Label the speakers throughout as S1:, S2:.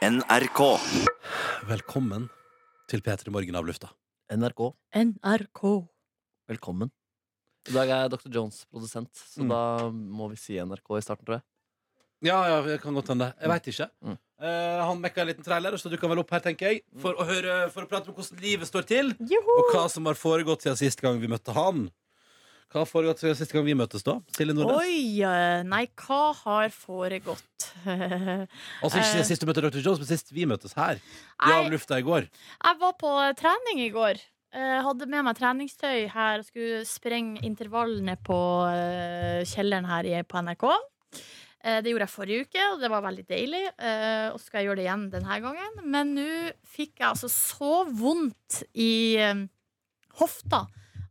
S1: NRK.
S2: Velkommen til P3 Morgen av lufta.
S3: NRK.
S4: NRK.
S3: Velkommen. I dag er Dr. Jones produsent, så
S2: Mm.
S3: da må vi si NRK i starten, tror jeg.
S2: Ja, ja, jeg kan godt hende. Jeg veit ikke.
S3: Mm.
S2: Eh, han mekka en liten trailer, så du kan vel opp her, tenker jeg. For å, høre, for å prate om hvordan livet står til,
S4: Joho!
S2: og hva som har foregått siden sist gang vi møtte han. Hva har foregått siden sist gang vi møttes, da? Silje Nordnes?
S4: Oi, eh, nei, hva har foregått? Jeg
S2: Altså ikke
S4: eh.
S2: siden sist du møtte Dr. Jones, men sist vi møttes her. I av lufta i går.
S4: var på trening i går. Eh, hadde med meg treningstøy her og skulle sprenge intervallene på eh, kjelleren her i- på NRK. Eh, det gjorde jeg forrige uke, og det var veldig deilig. Eh, og så skal jeg gjøre det igjen denne gangen. Men nå fikk jeg altså så vondt i eh, hofta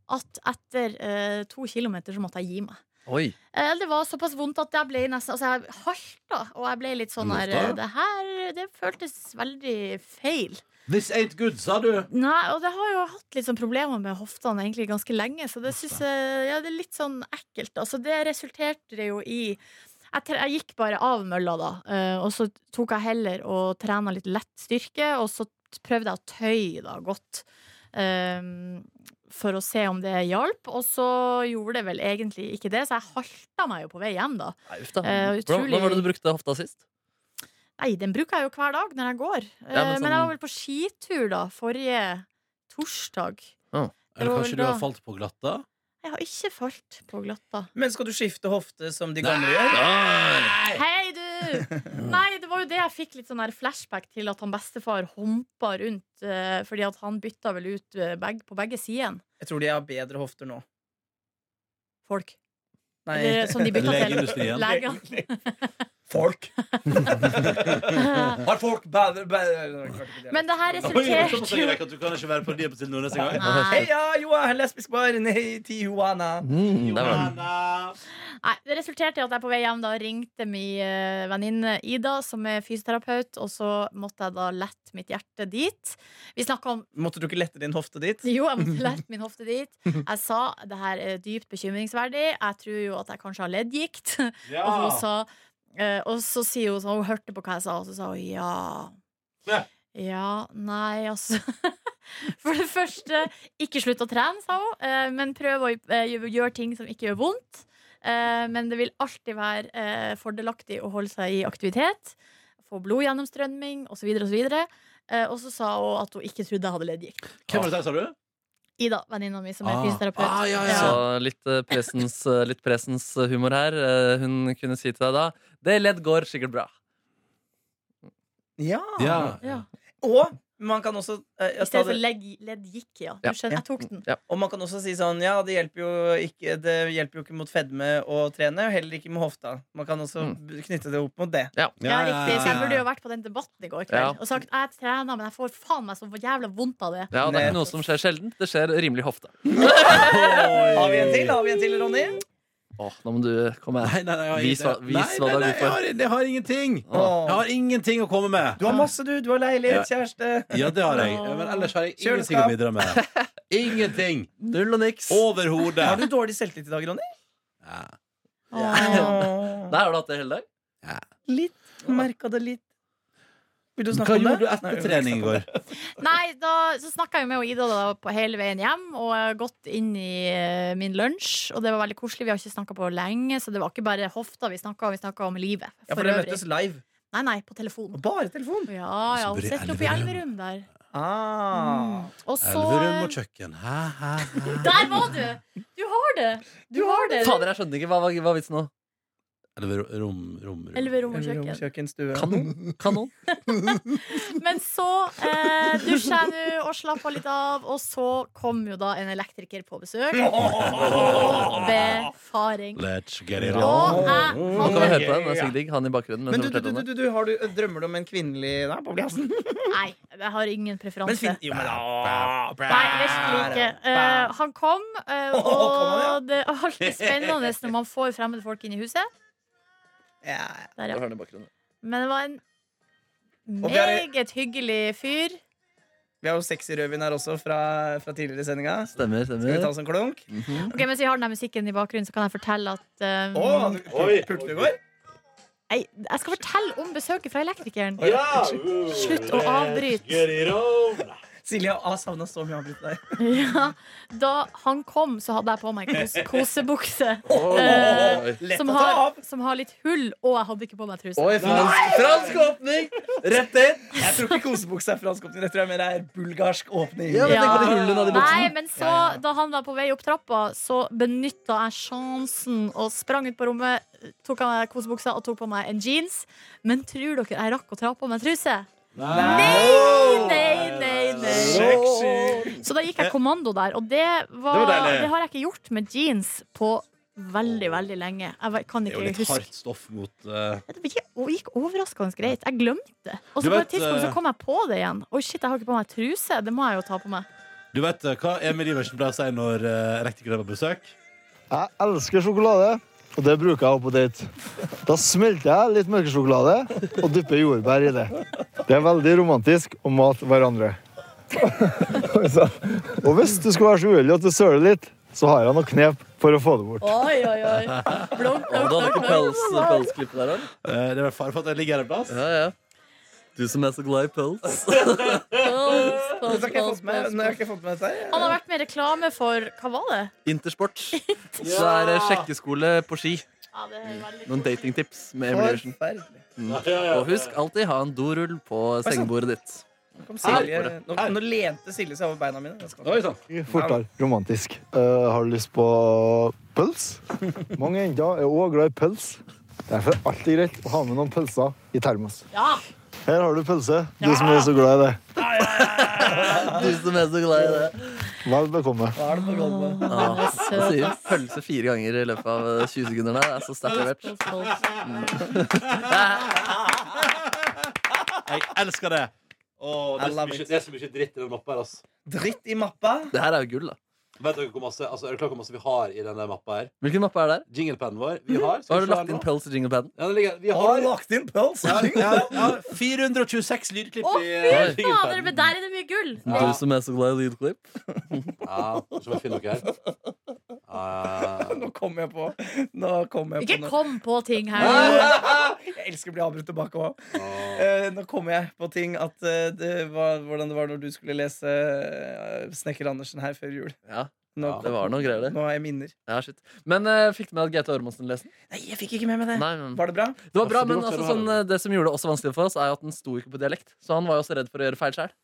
S4: at etter eh, to kilometer så måtte jeg gi meg.
S3: Oi.
S4: Eh, Det var såpass vondt at jeg ble nesten Altså, jeg halta, og jeg ble litt sånn
S2: Men
S4: her
S2: hvorfor?
S4: Det her Det føltes veldig feil.
S2: This ain't good, sa du.
S4: Nei, og det har jo hatt litt sånn problemer med hoftene egentlig ganske lenge, så det syns jeg Ja, det er litt sånn ekkelt. Altså, det resulterte det jo i jeg, tre- jeg gikk bare av mølla, da, eh, og så tok jeg heller og trena litt lett styrke, og så t- prøvde jeg å tøye da godt. eh, for å se om det hjalp, og så gjorde det vel egentlig ikke det, så jeg halta meg jo på vei hjem, da.
S3: Nei, uff da.
S4: Eh,
S3: Hvordan-
S4: utrolig-
S3: Hvordan var det du brukte hofta sist?
S4: Nei, den bruker jeg jo hver dag når jeg går.
S3: Ja, men
S4: Eh, men,
S3: sånn-
S4: jeg var vel på skitur da, forrige torsdag.
S2: Eller
S4: var vel
S2: kanskje du
S4: da.
S2: har falt på glatta?
S4: Jeg har ikke falt på glatta.
S5: Men skal du skifte hofte som de gamle gjør?
S4: Hei, du! Nei, det var jo det jeg fikk litt sånn her flashback til at han bestefar humpa rundt eh, fordi at han bytta vel ut eh, beg på begge sidene.
S5: Jeg tror de har bedre hofter nå.
S4: Folk.
S5: Nei.
S4: Eller som de bytta til.
S2: Legeindustrien.
S4: Legene.
S5: Folk! Har folk bedre,
S4: Men det her
S2: Oi, sånn jeg må
S4: resulterte
S2: si
S4: jo
S2: deg at Du kan ikke være på de på Silje Nordnes engang.
S4: Nei.
S5: Heia, jo, jeg er lesbisk bar Nei, Tijuana.
S3: Mm, der var den.
S4: Nei, Det resulterte i at jeg på vei hjem da ringte min eh, venninne Ida, som er fysioterapeut, og så måtte jeg da lette mitt hjerte dit. Vi snakka om
S5: Måtte du ikke lette din hofte dit?
S4: Jo, jeg måtte lette min hofte dit. Jeg sa det her er dypt bekymringsverdig. Jeg tror jo at jeg kanskje har leddgikt.
S2: Ja.
S4: Og hun sa eh, Og så sier hun sånn, hun hørte på hva jeg sa, og så sa hun ja.
S2: Ja.
S4: Ja, nei, altså For det første, ikke slutt å trene, sa hun, eh, men prøv å eh, gjøre ting som ikke gjør vondt. Eh, Men det vil alltid være eh, fordelaktig å holde seg i aktivitet, få blodgjennomstrømming osv. Og, så videre. Eh, og så sa hun at hun ikke trodde jeg hadde leddgikt.
S2: Hvem var det der, sa du?
S4: Ida, venninna mi som er
S2: Ah.
S4: fysioterapeut.
S2: Ah, ja, ja,
S4: Ja.
S3: Så litt, eh, presens, eh, litt presens eh, humor her. Eh, Hun kunne si til deg da Det ledd går sikkert bra.
S5: Ja.
S4: Ja.
S5: Og man kan også
S4: I
S5: eh, jeg sa
S4: stedet for
S5: det-
S4: legg, ledd gikk, ja. Du
S3: Ja.
S4: skjønner, jeg tok den.
S3: Ja.
S5: Og man kan også si sånn Ja, det hjelper jo ikke, det hjelper jo ikke mot fedme å trene, og heller ikke med hofta. Man kan også b- knytte det opp mot det.
S4: Ja, riktig, så Jeg burde jo vært på den debatten i går
S3: Ja.
S4: kveld og sagt jeg trener, men jeg får faen meg så jævla vondt av det.
S3: Ja, og Det er
S5: Nettopp.
S3: ikke noe som skjer sjelden. Det skjer rimelig ofte.
S5: Har vi en til, har vi en til, Ronny?
S3: Åh, nå må du komme her.
S2: Nei, nei, nei, jeg har
S3: Vis hva-
S2: ingenting.
S3: vis hva
S2: nei, nei,
S3: du er
S2: nei,
S3: god for.
S2: jeg, har, jeg har ingenting.
S3: Åh.
S2: Jeg har ingenting å komme med.
S5: Du har masse, du. Du har leilighet, kjæreste.
S2: Ja, det har jeg. Men ellers har jeg ingenting å
S5: Kjøleskap.
S2: bidra med. Ingenting.
S3: Null og niks.
S2: Overhodet.
S5: Har du dårlig selvtillit i dag, Ronny?
S2: Ja.
S4: Åh.
S5: Åh.
S3: Der har du hatt det hele dag.
S5: Litt. Merka det litt. Vil du snakke
S2: Hva
S5: om
S2: gjorde
S5: det?
S2: du
S5: Nei,
S2: etter
S5: vi vil ikke
S2: trening i
S5: snakke om
S2: går?
S5: det.
S4: Nei, da, så snakka jeg jo med Ida da, på hele veien hjem, og jeg har gått inn i eh, min lunsj. Og det var veldig koselig. Vi har ikke snakka på lenge, så det var ikke bare hofta vi snakka om, vi snakka om livet. For
S5: Ja, for dere
S4: øvrig.
S5: møttes live.
S4: Nei, nei, på telefon.
S5: Bare telefon.
S4: Ja, ja, hun
S2: Så blir
S4: sitter oppe i Elverum der.
S5: Mm. Ah.
S4: Mm. Og så
S2: Elverum og kjøkken. Hæ, hæ, hæ.
S4: Der var du! Du har det! Du har det!
S3: Fader, jeg skjønner ikke. Hva var hva var vitsen nå?
S2: Elverum, rom, rom, rom.
S4: Elverum og
S5: Rom,
S4: kjøkken.
S5: kjøkken, stue.
S3: Kanon. Kanon.
S4: Men så eh, dusja jeg nå og slappa litt av, og så kom jo da en elektriker på besøk. Befaring.
S2: Let's get it on.
S4: Og jeg
S3: Nå kan vi
S4: hadde
S3: høre på den. Det er sikkert digg. Han i bakgrunnen. mens
S5: Men du,
S3: jeg
S5: du,
S3: forteller om
S5: du,
S3: det.
S5: du, du, har du, drømmer du om en kvinnelig Nei, på plassen?
S4: Nei, jeg har ingen
S5: Men
S4: preferanse.
S5: fin... Jo, men da
S4: Nei, virkelig ikke. Eh, han kom, eh,
S5: Åh, kom han, ja?
S4: og det er alltid spennende når man får fremmede folk inn i huset.
S5: Ja.
S4: Der,
S3: Jeg
S4: ja.
S3: hører den i bakgrunnen.
S4: Men det var en
S5: Og vi er i-
S4: meget hyggelig fyr.
S5: Vi har jo sexy rødvin her også, fra, fra tidligere sendinga.
S3: Stemmer,
S5: Skal vi ta
S3: stemmer.
S5: oss en klunk?
S3: Mm.
S4: Ok, Mens vi har den der musikken i bakgrunnen, så kan jeg fortelle at eh,
S5: Å, pulte du i går?
S4: Nei, jeg skal fortelle om besøket fra elektrikeren.
S1: Ja!
S4: Slutt å avbryte.
S1: Get it on!
S5: Silje har savna så mye å avbryte deg.
S4: Ja, da han kom, så hadde jeg på meg kose, kosebukse. eh,
S3: Oi.
S5: Lett
S4: Som
S5: å ta
S4: har,
S5: av.
S4: som har litt hull, og jeg hadde ikke på meg truse.
S3: Oi, fransk, fransk åpning! Rett inn.
S5: Jeg tror ikke kosebukse er fransk åpning. Jeg tror jeg mer er bulgarsk åpning.
S3: Ja, men tenk på de
S4: Ja.
S3: hullene da, de buksene.
S4: Nei, men så,
S5: Ja, ja.
S4: da han var på vei opp trappa, så benytta jeg sjansen og sprang ut på rommet, tok av meg kosebuksa og tok på meg en jeans. Men tror dere jeg rakk å ta på meg truse? Nei, nei, nei, nei.
S1: Sexy!
S4: Så da gikk jeg kommando der, og det, var,
S1: Det var
S4: det,
S1: deilig.
S4: har jeg ikke gjort med jeans på veldig, veldig lenge. Jeg vet- kan
S2: Det er
S4: ikke
S2: jo litt
S4: huske.
S2: hardt stoff mot eh,
S4: Det gikk, og gikk overraskende greit. Jeg glemte det. Og
S2: Du
S4: så på
S2: vet,
S4: et tidspunkt så
S2: eh,
S4: kom jeg på det igjen. Oi, shit, jeg har ikke på meg truse. Det må jeg jo ta på meg.
S2: Du vet eh, hva Emil Iversen pleier å si når uh, elektrikere er på besøk?
S6: Jeg elsker sjokolade, og det bruker jeg også på date. Da smelter jeg litt mørkesjokolade og dypper jordbær i det. Det er veldig romantisk å mate hverandre. Så- og hvis du skulle være så uheldig at du søler litt, så har jeg noen knep for å få det bort.
S4: Oi, oi, oi. Blunk,
S3: Å,
S4: blunk,
S3: du hadde
S4: blunk,
S3: ikke
S4: blunk.
S3: pels, pelsklippet der, eller?
S2: Eh, det er vel fare for at jeg ligger her en plass.
S3: Ja, ja. Du som er så glad i pels.
S4: Pels,
S5: Men
S4: pels,
S5: så har ikke jeg
S4: pels,
S5: fått med,
S4: pels.
S5: nå har jeg ikke fått med dette her.
S4: Han har vært med i reklame for Hva var det?
S3: Intersport. Så er det sjekkeskole på ski.
S4: Ja, det er veldig
S3: Noen datingtips med Emil Iversen.
S5: Forferdelig.
S3: Og husk alltid ha en dorull på sengebordet ditt.
S5: Nå kom Silje, nå, nå lente Silje seg over beina mine. Det skal-
S2: Oi sann.
S6: Fortere, romantisk. Eh, har du lyst på pøls? Mange jenter er også glad i pøls. Derfor er det alltid greit å ha med noen pølser i termos.
S4: Ja!
S6: Her har du pølse, du som er så glad i det.
S3: Du som er så glad i det.
S6: Vel bekomme.
S5: Hva er det på gulvet?
S3: Ja, jeg Ah, sier pølse fire ganger i løpet av eh, 20 sekunder. der. Det er så sterkt levert.
S4: Pels, pels.
S2: Jeg elsker det. Åh, det,
S5: I
S2: er så
S5: love
S2: mye,
S5: it.
S2: det er så mye dritt i den mappa her. Altså.
S5: Dritt i mappa.
S3: Det her er jo gull, da.
S2: Vet dere hvor masse, altså, er dere klar over hvor masse vi har i denne mappa her?
S3: Hvilken mappe er det der?
S2: Jinglepennen vår. Vi har,
S3: Mhm. Har du
S2: vi se
S3: lagt
S2: her
S3: inn
S2: nå?
S3: pels i jinglepaden?
S2: Ja, det ligger, vi
S5: Har
S2: har
S5: du lagt inn pøls?
S2: ja, ja, ja, 426 lydklipp
S4: Å,
S2: i
S4: fy
S2: eh,
S4: fader, men
S2: jinglepennen.
S4: der er det mye gull!
S3: Du som er så glad i lydklipp?
S2: Ja, så må jeg finne noe her. Ah.
S5: Nå kommer jeg på. Nå kommer
S4: Ikke
S5: jeg på noe.
S4: kom på ting her.
S3: Ah!
S5: Jeg elsker å bli avbrutt tilbake òg. nå kommer jeg på ting at eh, det var, hvordan det var når du skulle lese eh, Snekker Andersen her før jul.
S3: Ja,
S5: Nå,
S3: det var noe greier, det.
S5: nå har jeg minner.
S3: Ja, shit. Men eh, fikk du med at Gaute Ormåsen leste den?
S5: Nei, jeg fikk ikke med meg det.
S3: Nei, men
S5: Var det bra?
S3: Det var bra,
S2: Altså, du
S3: men
S2: må
S3: altså,
S2: tørre å
S3: sånn,
S2: være
S3: det som gjorde det også vanskelig for oss, er jo at den sto ikke på dialekt. Så han var jo også redd for å gjøre feil sjøl.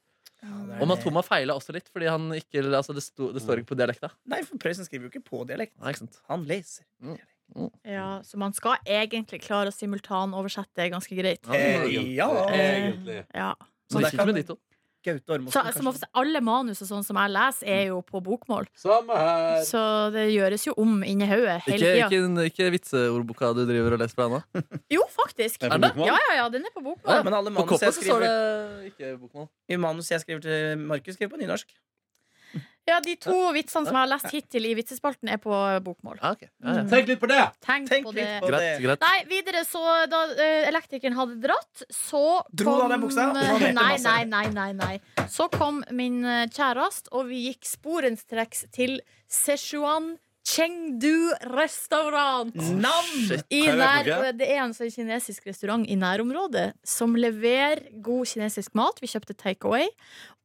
S3: Og Matoma feila også litt, fordi han ikke, altså, det, sto, det står ikke på dialekta.
S5: Nei, for Prøysen skriver jo ikke på dialekt.
S3: Nei, ikke sant?
S5: Han leser.
S4: Ja, så man skal egentlig klare å simultanoversette det ganske greit. Eh,
S3: Ja,
S5: Eh,
S3: men-
S5: ja.
S2: Egentlig.
S4: Ja.
S3: så det er ikke med de to.
S5: Gaute Ormåsen,
S4: Så,
S5: kanskje.
S4: som oftest, alle manus og sånn som jeg leser, er jo på bokmål.
S2: Samme her.
S4: Så det gjøres jo om inni hodet
S3: Ikke,
S4: hele tida.
S3: ikke, ikke vitseordboka du driver og leser på ennå.
S4: Jo, faktisk.
S2: Er det på
S4: Er det?
S2: bokmål?
S4: Ja, ja, ja, den er på
S3: Ja,
S4: bokmål.
S5: Men alle
S3: På
S5: manus
S3: Koppa
S5: jeg
S3: så står
S5: skriver,
S3: det ikke bokmål.
S5: i manus jeg skriver til Markus, skriver på nynorsk.
S4: Ja, De to vitsene som jeg har lest hittil i vitsespalten, er på bokmål.
S3: Ja, ok. ja, ja.
S2: Tenk litt på det!
S4: Tenk,
S5: Tenk
S4: på
S5: litt
S4: det.
S5: på-
S3: Greit, greit.
S4: Nei, videre så Da eh, elektrikeren hadde dratt, så
S5: Dro han
S4: kom-
S5: av deg buksa? Det var
S4: Nei,
S5: mer til
S4: nei,
S5: masse.
S4: nei, nei, nei. Så kom min eh, kjærest, og vi gikk sporenstreks til Sichuan Chengdu-restaurant.
S5: Nam!
S4: I
S2: Hva er det
S4: nær,
S2: for noe?
S4: det er en sånn kinesisk restaurant i nærområdet som leverer god kinesisk mat. Vi kjøpte takeaway.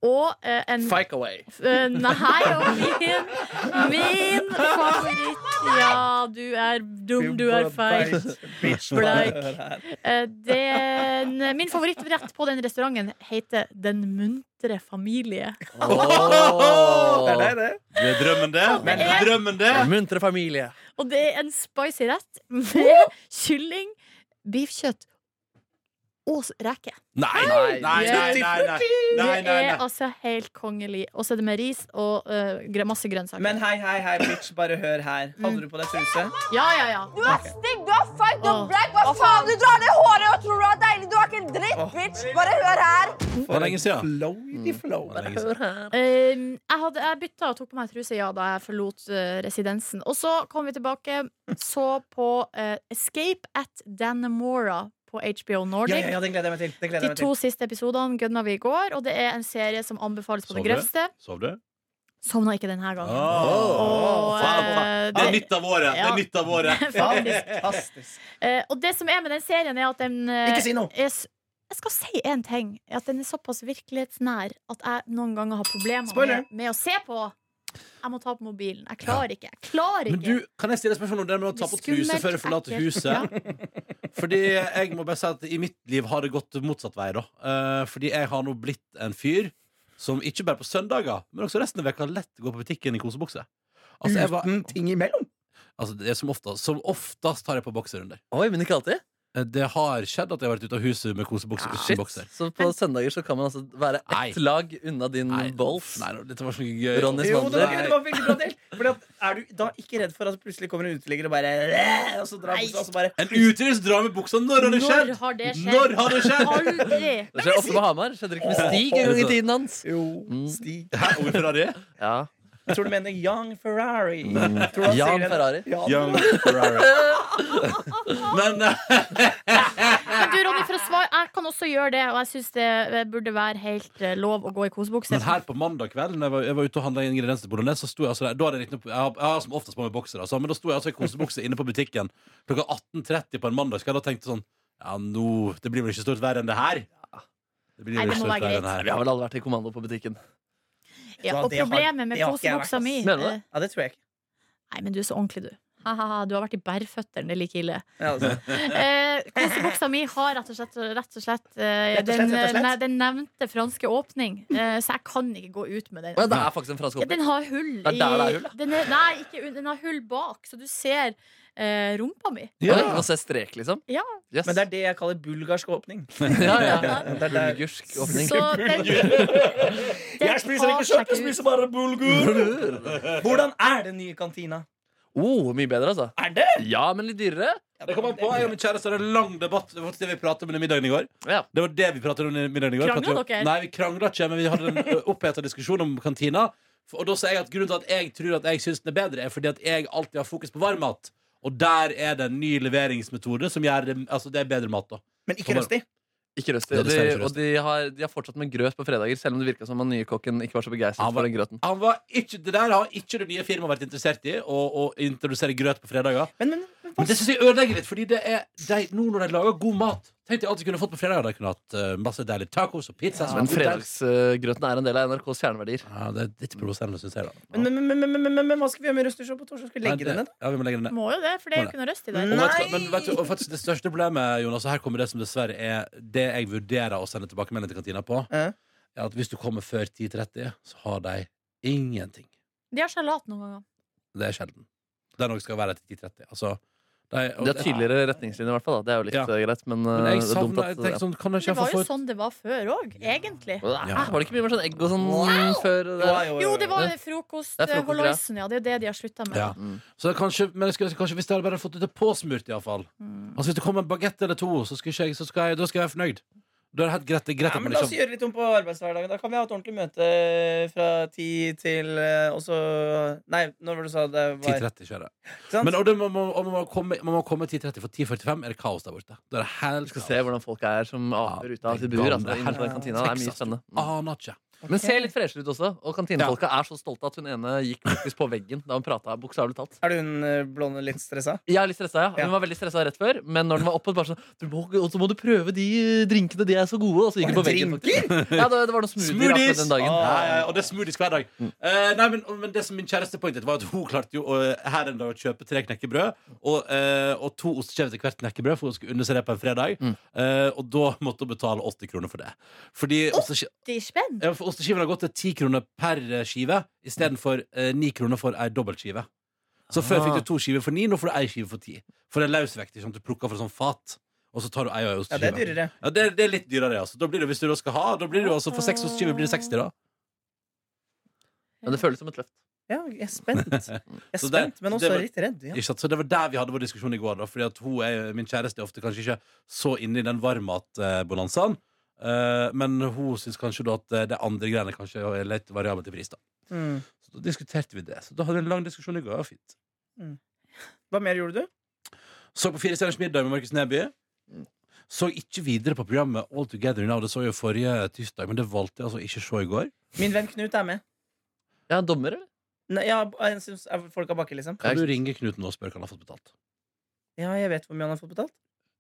S4: Og eh, en
S3: Fike away.
S4: Eh, nei, og min, min favoritt Ja, du er dum, du er feil.
S5: Bitch,
S4: Bleik.
S5: hør her.
S4: Eh, Den, eh, min favorittrett på den restauranten heter Den muntre familie.
S5: Det er deg,
S3: Åh.
S5: det.
S2: Det er drømmen, det.
S4: Men-
S2: Det er drømmen, det.
S3: Muntre familie.
S4: Og det er en spicy rett med kylling, beefkjøtt og s- reker.
S2: Nei, nei, nei. nei, nei, nei,
S4: Det
S2: nei,
S4: er
S2: nei.
S4: altså helt kongelig. Og så er det med ris og eh, gre- masse grønnsaker.
S5: Men hei, hei, hei, bitch, bare hør her. Hadde du på deg truse?
S4: ja, ja, ja.
S7: Du er stygg, du er feit, du er
S4: Åh.
S7: black. Hva faen? Du drar ned håret og tror du er deilig. Du er ikke en dritt,
S5: Åh.
S7: bitch. Bare hør her.
S2: Det var lenge siden.
S5: Flow i de flow.
S2: Det var lenge siden.
S4: Um, jeg, hadde, jeg bytta og tok på meg truse ja, da jeg forlot eh, residensen. Og så kom vi tilbake, så på eh, Escape at Dannemora på HBO
S5: Ja,
S4: Nordic.
S5: ja, ja, den gleder jeg meg til. Den gleder
S4: De
S5: jeg meg
S4: to
S5: til.
S4: siste episodene gønna vi i går, og det er en serie som anbefales på
S2: Så
S4: det
S2: du det?
S4: grøvste.
S2: Sov du?
S4: Sovna ikke denne gangen.
S2: Åh,
S4: Og,
S2: faen,
S4: eh,
S2: faen. Det er nytt av året! Det
S4: Ja.
S2: er nytt av året.
S4: Faktisk.
S5: Fantastisk.
S4: Eh, og det som er med den serien, er at den eh,
S5: Ikke si noe!
S4: er s- Jeg skal si én ting. At den er såpass virkelighetsnær at jeg noen ganger har problemer
S5: Spoiler.
S4: med, med å se på. Jeg må ta på mobilen. Jeg klarer ikke. Jeg klarer ikke.
S2: Men du, Kan jeg stille et spørsmål om det med å ta på
S4: Skummelt,
S2: truse før du forlater
S4: ekkelt.
S2: huset? Fordi jeg må bare si at i mitt liv har det gått motsatt vei da Eh, Fordi jeg har nå blitt en fyr Som ikke bare på søndager Men også resten av veka lett går på butikken i kosebukse altså, jeg var,
S5: Uten ting imellom.
S2: altså det er som oftest Som oftest tar jeg på bokserunder
S3: Oi, men ikke alltid.
S2: Eh, Det har skjedd at jeg har vært ute av huset med kosebukse uten
S3: Ah, Shit.
S2: Ah, bokser
S3: Så på søndager så kan man altså være
S2: Nei.
S3: ett lag unna din
S2: Nei,
S3: balls.
S2: Nei, dette var så gøy
S3: Ronny
S5: Jo, det var,
S3: Nei.
S5: det var veldig bra delt. Fordi at, er du da ikke redd for at plutselig kommer en uteligger og bare Og så drar
S4: Nei.
S5: buksa, og så bare
S2: En utryst drar med buksa Når har det skjedd?
S4: Når har det skjedd?
S2: Når har det skjedd?
S4: Aldri!
S3: Det skjer ofte med Hamar. Skjedde det ikke med Stig en gang i tiden hans?
S5: Jo,
S3: Mm.
S5: Stig.
S2: Hæ, hvorfor har det?
S3: Ja,
S5: Jeg tror du mener Young Ferrari. Tror du han sier
S3: Jan
S5: det?
S3: Ferrari.
S5: Ja,
S2: Mm. Young Ferrari Men eh,
S4: Men du, Ronny, for å svare, jeg kan også gjøre det, og jeg syns det eh, burde være helt eh, lov å gå i kosebukse.
S2: Men her på mandag kveld Når jeg var, jeg var ute og handla ingredienser til bolognese, så sto jeg altså der. Da hadde jeg, ikke noe- jeg, har, jeg har som oftest på meg bokser, altså, men da sto jeg altså i kosebukse inne på butikken klokka 18.30 på en mandag. Skal jeg da tenkte sånn Ja, nå Det blir vel ikke stort verre enn det her? Det blir
S4: Nei,
S2: vel
S4: det
S2: ikke stort
S4: må være
S2: verre enn
S4: greit.
S2: det
S3: Vi
S2: her.
S3: har vel alle vært i kommando på butikken.
S4: ja, og
S5: det har-
S4: problemet med
S5: det har ikke jeg vært,
S4: kosebuksa
S5: ass.
S4: mi
S3: Mener du det?
S4: eh,
S5: ja, det tror jeg ikke.
S4: Nei, men du er så ordentlig, du. Ha-ha-ha, du har vært i bærføtteren, det er like ille.
S5: Ja, altså.
S4: Eh, kosebuksa mi har rett og slett, rett og slett, eh,
S5: Rett og slett,
S4: den,
S5: rett og slett?
S4: ne- den nevnte franske åpning, eh, så jeg kan ikke gå ut med den.
S3: Å, ja, det er faktisk en fransk
S4: Ja,
S3: åpning.
S4: den har hull
S3: Det er der det er hull, da.
S4: den er, Nei, ikke, un- den har hull bak, så du ser eh, rumpa mi.
S3: Ja. Oi, man ser strek, liksom?
S4: Ja.
S3: Yes.
S5: Men det er det jeg kaller bulgarsk åpning.
S3: ja, ja.
S4: Ja.
S5: Det er der-
S3: Bulgursk åpning.
S4: Så den, den tar seg ikke ut.
S5: bare bulgur! Hvordan er den nye kantina?
S3: Oh, mye bedre, altså.
S5: Er det?
S3: Ja, men litt dyrere.
S2: Det kom an på, jeg og min kjæreste hadde en lang debatt om det vi pratet om under middagen i går.
S3: Ja.
S2: Det var det vi pratet om under middagen i går.
S4: Kranglet
S2: Pratet-
S4: dere?
S2: Nei, vi krangla ikke, men vi hadde en ø, opphetet diskusjon om kantina. For- Og da sa jeg at grunnen til at jeg tror at jeg syns den er bedre, er fordi at jeg alltid har fokus på varmmat. Og der er det en ny leveringsmetode som gjør det Altså, det er bedre mat, da.
S5: Men ikke røstig.
S3: Ikke røst.
S2: Ja,
S3: Og,
S2: det
S3: de,
S2: ser jeg ikke
S3: og de, har, de har fortsatt med grøt på fredager, selv om det virka som han nye kokken ikke var så begeistret
S2: Han var-
S3: for den grøten.
S2: Han var ikke, det der har ikke det nye firmaet vært interessert i, å, å introdusere grøt på fredager.
S5: Men, men, men hva
S2: Men det synes jeg ødelegger litt, Fordi det er de, nå når de lager god mat Tenkte jeg alt de kunne fått på fredager. De kunne hatt eh, masse deilige tacos og pizza. som
S3: Men
S2: var god der.
S3: fredagsgrøten er en del av NRKs kjerneverdier.
S2: ja, det er litt provoserende, syns jeg. da
S5: Men, men, men, men, men, men, men hva skal vi gjøre med Røstershow på torsdag? Skal vi legge
S2: Nei, det-
S5: den ned?
S2: Ja, vi må legge den ned.
S4: Må jo det, for det er jo ikke noe røst i
S2: Og
S4: der.
S5: Nei.
S2: vet du hva- men vet du, og faktisk det største problemet, Jonas, og her kommer det som dessverre er det jeg vurderer å sende tilbakemelding til kantina på,
S5: Ja.
S2: er at hvis du kommer før 10.30, så har de ingenting.
S4: De har salat noen ganger.
S2: Det er sjelden. Det er noe som skal være etter 10.30. Altså, de- og
S3: De har
S2: det-
S3: tydeligere retningslinjer, i hvert fall. Da. Det er jo litt
S2: Ja.
S3: eh, greit, men,
S2: Men
S3: eh,
S2: jeg
S3: det er dumt
S2: savner
S3: at
S2: jeg tenker sånn, Kan jeg
S4: Det
S2: ikke få
S4: var jo
S2: for-
S4: sånn det var før òg, egentlig.
S3: ja. Var det ikke mye mer sånn egg og sånn før? Det?
S4: Jo, det var frokost,
S3: Det er frokost,
S4: holoisen, ja. Det er jo det de har slutta med.
S2: ja.
S3: Mm.
S2: Så det er kanskje, men jeg skulle, kanskje hvis jeg hadde bare fått det til påsmurt, iallfall.
S4: Mm.
S2: Altså, hvis det kommer en bagett eller to, så skal, ikke jeg, så skal jeg, da skal jeg være fornøyd. Da er det helt greit, det er greit
S5: Ja,
S2: at man liksom
S5: men La oss
S2: ikke
S5: gjøre litt om på arbeidshverdagen. Da kan vi ha et ordentlig møte eh, fra 10 til eh, også Nei, når var det du sa det var
S2: 10.30 kjører.
S5: Sant?
S2: Men og det, man, må, og man, må komme, man må komme 10.30, for 10.45 er det kaos der borte. Da er det helt
S3: Skal
S2: kaos.
S3: se hvordan folk er som aper ute av sitt bur. Altså, innenfor den kantina. Det er mye spennende. Mm.
S2: Aner ikke.
S3: Men ser litt freshere ut også. Og kantinefolka er så stolte at hun ene gikk faktisk på veggen da hun prata. Bokstavelig talt.
S5: Er hun eh, blonde litt stressa?
S3: Jeg er litt stresset, ja. Hun var veldig stressa rett før, men når den var oppe, bare sånn du må, Og så må du prøve de eh, drinkene, de er så gode. Og så gikk hun på veggen. faktisk. Ja, det, det var noen smoothier akkurat den dagen.
S5: Ah.
S2: Ja, ja, ja, og det er smoothies hver dag. Eh, nei, men, men det som min kjæreste poengterte, var at hun klarte jo å- eh, her en dag å kjøpe tre knekkebrød og, eh, og to ostekjever til hvert knekkebrød, for hun skulle unne seg det på en fredag.
S3: Mm.
S2: Eh, og da måtte hun betale 80 kroner for det. Fordi osteskje-
S4: De er spent.
S2: ja, for osteskivene har gått til 10 kroner per eh, skive
S5: Mm.
S2: istedenfor eh, 9 kroner for ei dobbeltskive. Så før
S5: Ah.
S2: fikk du to skiver for 9, nå får du ei skive for 10. For det er løsvekt. ikke sant? Du plukker fra sånn fat, og så tar du ei og ei
S5: Ja, det
S2: osteskive.
S5: er dyrere.
S2: Ja, det, det er litt dyrere, altså. Da blir det, hvis du da skal ha, da blir det jo altså for seks ostskiver blir det 60, da.
S3: Men det føles som et løft.
S5: Ja, jeg er spent. Jeg er
S2: Så det-
S5: spent, men
S2: så
S5: også
S2: det var-
S5: litt redd. Ja.
S2: Ikke sant? Så det var der vi hadde vår diskusjon i går, da. Fordi at hun er, min kjæreste er ofte kanskje ikke så inne i den varmmatbonanzaen. Eh, men hun syns kanskje da at eh, det andre greiene kanskje er litt variabelt i pris, da.
S5: Mm.
S2: Så da diskuterte vi det. Så da hadde vi en lang diskusjon i går. Det var fint.
S5: Hva mer gjorde du?
S2: Så på Fire stjerners middag med Markus Neby. Så ikke videre på programmet All Together Now. Det så jeg jo forrige tirsdag, men det valgte jeg altså ikke å se i går.
S5: Min venn Knut er med.
S3: Jeg er en dommer, eller?
S5: Nei, ja, jeg synes er folk har bakke, liksom.
S2: Kan du ringe Knut nå og spørre hva han har fått betalt?
S5: Ja, jeg vet hvor mye han har fått betalt.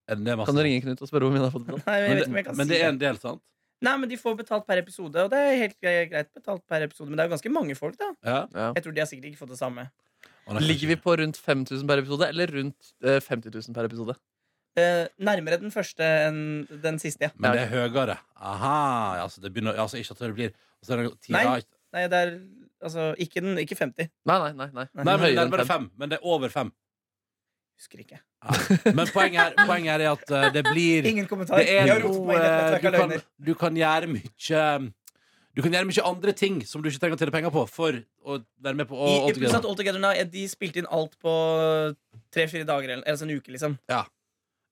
S2: Er det masse?
S3: Kan du ringe Knut og spørre hvor mye han har fått betalt?
S5: Nei, jeg
S2: Men
S5: vet ikke om
S2: det,
S5: jeg kan
S2: men
S5: si
S2: det er en del, sant?
S5: Nei, men de får betalt per episode, og det er helt gre- greit betalt per episode. Men det er jo ganske mange folk, da.
S2: Ja.
S3: Ja.
S5: Jeg tror de har sikkert ikke fått det samme.
S2: Å, nei,
S3: Ligger vi på rundt 5000 per episode, eller rundt eh, 50 000 per episode?
S5: Eh, nærmere den første enn den siste, ja.
S2: Men det er høyere. Aha, ja, altså det begynner, ja, altså ikke at det blir altså det er, ti,
S5: Nei.
S2: ja, ikke-
S5: Nei, det er altså ikke, den, ikke 50.
S3: Nei, nei, nei. nei.
S2: nei, men det er
S3: Høyere enn fem.
S2: nærmere fem, men det er over fem.
S5: Husker ikke.
S2: Men poenget her, poenget her er at eh, det blir
S5: Ingen kommentar.
S2: det er
S5: Jeg har rotet
S2: noe
S5: meg inn i
S2: eh,
S5: et nettverk
S2: du
S5: av
S2: kan,
S5: løgner.
S2: du kan gjøre mye Du kan gjøre mye andre ting som du ikke trenger å tjene penger på, for å være med på å,
S5: I
S2: All
S5: Ipsos at
S2: Together.
S5: All Together Now, eh, de spilte inn alt på tre-fire dager, eller altså en uke, liksom.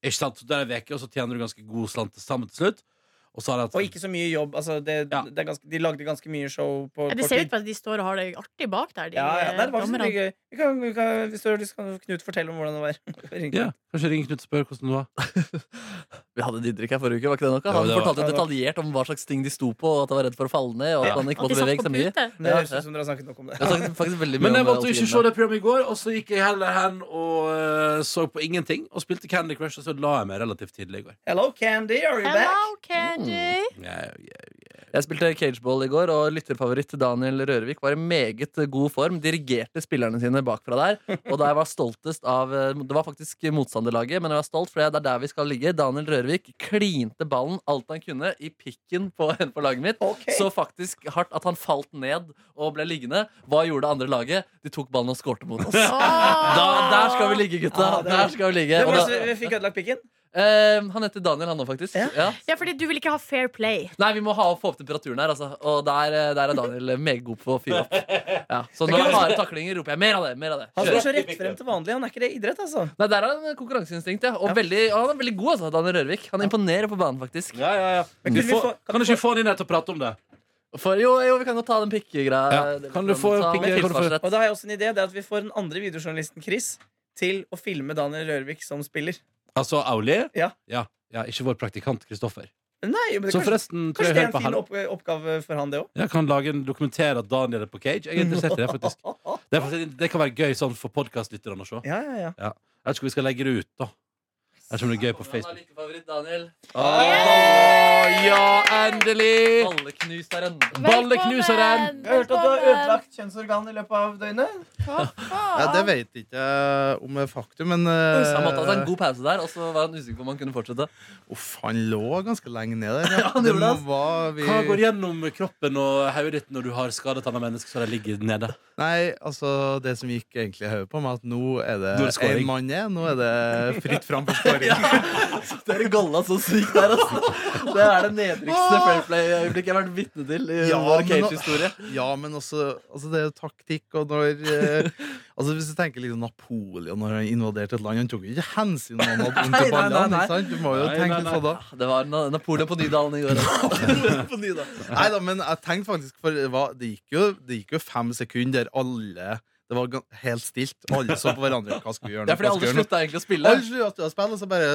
S2: Ikke sant? Så Der er veke, og så tjener du ganske god slant til sammen til slutt. Og så har jeg
S5: Og ikke så mye jobb. Altså, det,
S2: Ja.
S5: det er ganske, de lagde ganske mye show på
S4: Ja, det
S5: kort
S4: ser ut
S5: tid.
S4: til at de står og har det artig bak der, de
S5: Ja, ja. Nei, det var faktisk
S4: dommerne.
S5: veldig gøy. Vi kan, vi kan, hvis du har lyst, kan Knut fortelle om hvordan det var. Ring
S2: ja,
S5: Knut.
S2: Kanskje ring Knut og spør hvordan det var.
S3: Vi hadde Didrik her forrige uke. var ikke det noe?
S2: Jo,
S3: Han
S2: det var-
S3: fortalte detaljert om hva slags ting de sto på, og at han var redd for å falle ned. og at han ikke
S4: At de
S3: måtte
S4: satt
S3: bevege
S4: på
S3: seg mye.
S4: pute.
S5: Det
S3: Ja.
S5: høres ut som dere har snakket nok om det.
S3: Jeg snakket faktisk veldig mye
S2: Men
S3: om
S2: jeg valgte å ikke se det programmet i går, og så gikk jeg heller hen og eh, så på ingenting. Og spilte Candy Crush, og så la jeg meg relativt tidlig i går.
S5: Hello, Candy, are you back?
S4: Hello, Candy!
S2: Yeah, yeah.
S3: Jeg spilte cageball i går, og lytterfavoritt Daniel Rørvik var i meget god form. Dirigerte spillerne sine bakfra der. Og da jeg var stoltest av Det var faktisk motstanderlaget, men jeg var stolt, for det er der vi skal ligge. Daniel Rørvik klinte ballen alt han kunne i pikken på en på laget mitt.
S5: Ok.
S3: Så faktisk hardt at han falt ned og ble liggende. Hva gjorde det andre laget? De tok ballen og skårte mot oss. Da, der skal vi ligge, gutta!
S5: Ah, det er-
S3: Der skal vi ligge.
S5: Hvem
S3: Og
S5: var det
S3: da,
S5: som fikk ødelagt pikken?
S3: eh, han heter Daniel, han nå, faktisk.
S5: Ja.
S3: Ja.
S4: Ja, fordi du vil ikke ha fair play.
S3: Nei, vi må ha, få opp temperaturen her, altså. Og der, eh, der er Daniel meget god på å fyre opp. Ja, så når det er harde taklinger, roper jeg mer av det. mer av det
S5: Han
S3: Kjør.
S5: står så rett frem til vanlig. Han er ikke det i idrett, altså.
S3: Nei, Der har han konkurranseinstinkt, ja. Og, veldig, og han er veldig god, altså, Daniel Rørvik. Han imponerer på banen, faktisk.
S2: Ja, ja, ja.
S5: Men
S2: Du
S5: kunne vi
S2: får,
S5: få- kan
S2: kan du
S5: vi
S2: ikke få han inn her til å prate om det?
S3: For jo, jo, vi kan jo ta den pikkegreia.
S2: Ja. Kan du få
S3: Ta med
S2: pikke- kan du få-
S3: tilsvarsrett.
S5: Og da har jeg også en idé. Det er at vi får den andre videojournalisten, Chris, til å filme Daniel Rørvik som spiller.
S2: Altså Auli?
S5: Ja.
S2: ja. ja, ikke vår praktikant Kristoffer.
S5: Nei, men det
S2: Som
S5: kanskje,
S2: forresten tror
S5: kanskje
S2: jeg
S5: det
S2: hører
S5: er
S2: på
S5: en fin
S2: her.
S5: opp oppgave for han, det òg.
S2: Jeg kan lage en dokumentere at Daniel er på cage. Jeg er interessert i det, faktisk. Det, er faktisk, det kan være gøy sånn for podkastlytterne å se.
S5: Ja, ja, ja.
S2: Jeg vet ikke om vi skal legge det ut, da. Jeg tror det er gøy på
S3: Han har
S2: Facebook.
S3: lyttefavoritt, Daniel.
S2: Åh, ja, endelig!
S3: Balleknuseren.
S2: Balleknuseren!
S5: Jeg har hørt at du har ødelagt kjønnsorgan i løpet av døgnet.
S8: Ja, det vet jeg ikke eh, om er faktum, men eh,
S3: Han måtte ha seg en god pause der, og så var han usikker på om han kunne fortsette.
S8: Uff, han lå ganske lenge ned der.
S3: Ja, han gjorde det, ass.
S8: var vi...
S2: Hva går gjennom kroppen og hodet ditt når du har skadet et annet menneske så de ligger nede?
S8: Nei, altså, det som gikk egentlig i hodet på meg, at nå er det
S2: Nå er det scoring.
S8: én mann igjen. Nå er det fritt fram for skåring.
S3: Dere golla så sykt der, altså. Det er det nedrigste
S2: Ah!
S3: fair play-øyeblikket jeg har vært vitne til i
S8: Ja,
S3: vår
S8: men nå-
S3: cage-historie.
S8: Ja, men også altså, Det er jo taktikk, og når eh, Altså, Hvis du tenker liksom Napoleon når han invaderte et land, han tok jo ikke hensyn til om han hadde vondt
S3: Nei, nei,
S8: i
S3: nei,
S8: ballene.
S3: nei.
S8: ikke sant? Du må jo
S2: Nei, nei,
S8: tenke litt
S2: nei.
S8: på det.
S3: Det var Na- Napoleon på Nydalen i går. altså.
S8: Nei da, men jeg tenkte faktisk For det, var, det, gikk jo, det gikk jo fem sekunder der alle Det var gan- helt stilt. Alle så på hverandre. Hva skal vi gjøre nå?
S3: Det er fordi
S8: Hva skal vi
S3: alle
S8: gjøre nå?
S3: slutta egentlig å spille.
S8: Alle slutta å spille, og så bare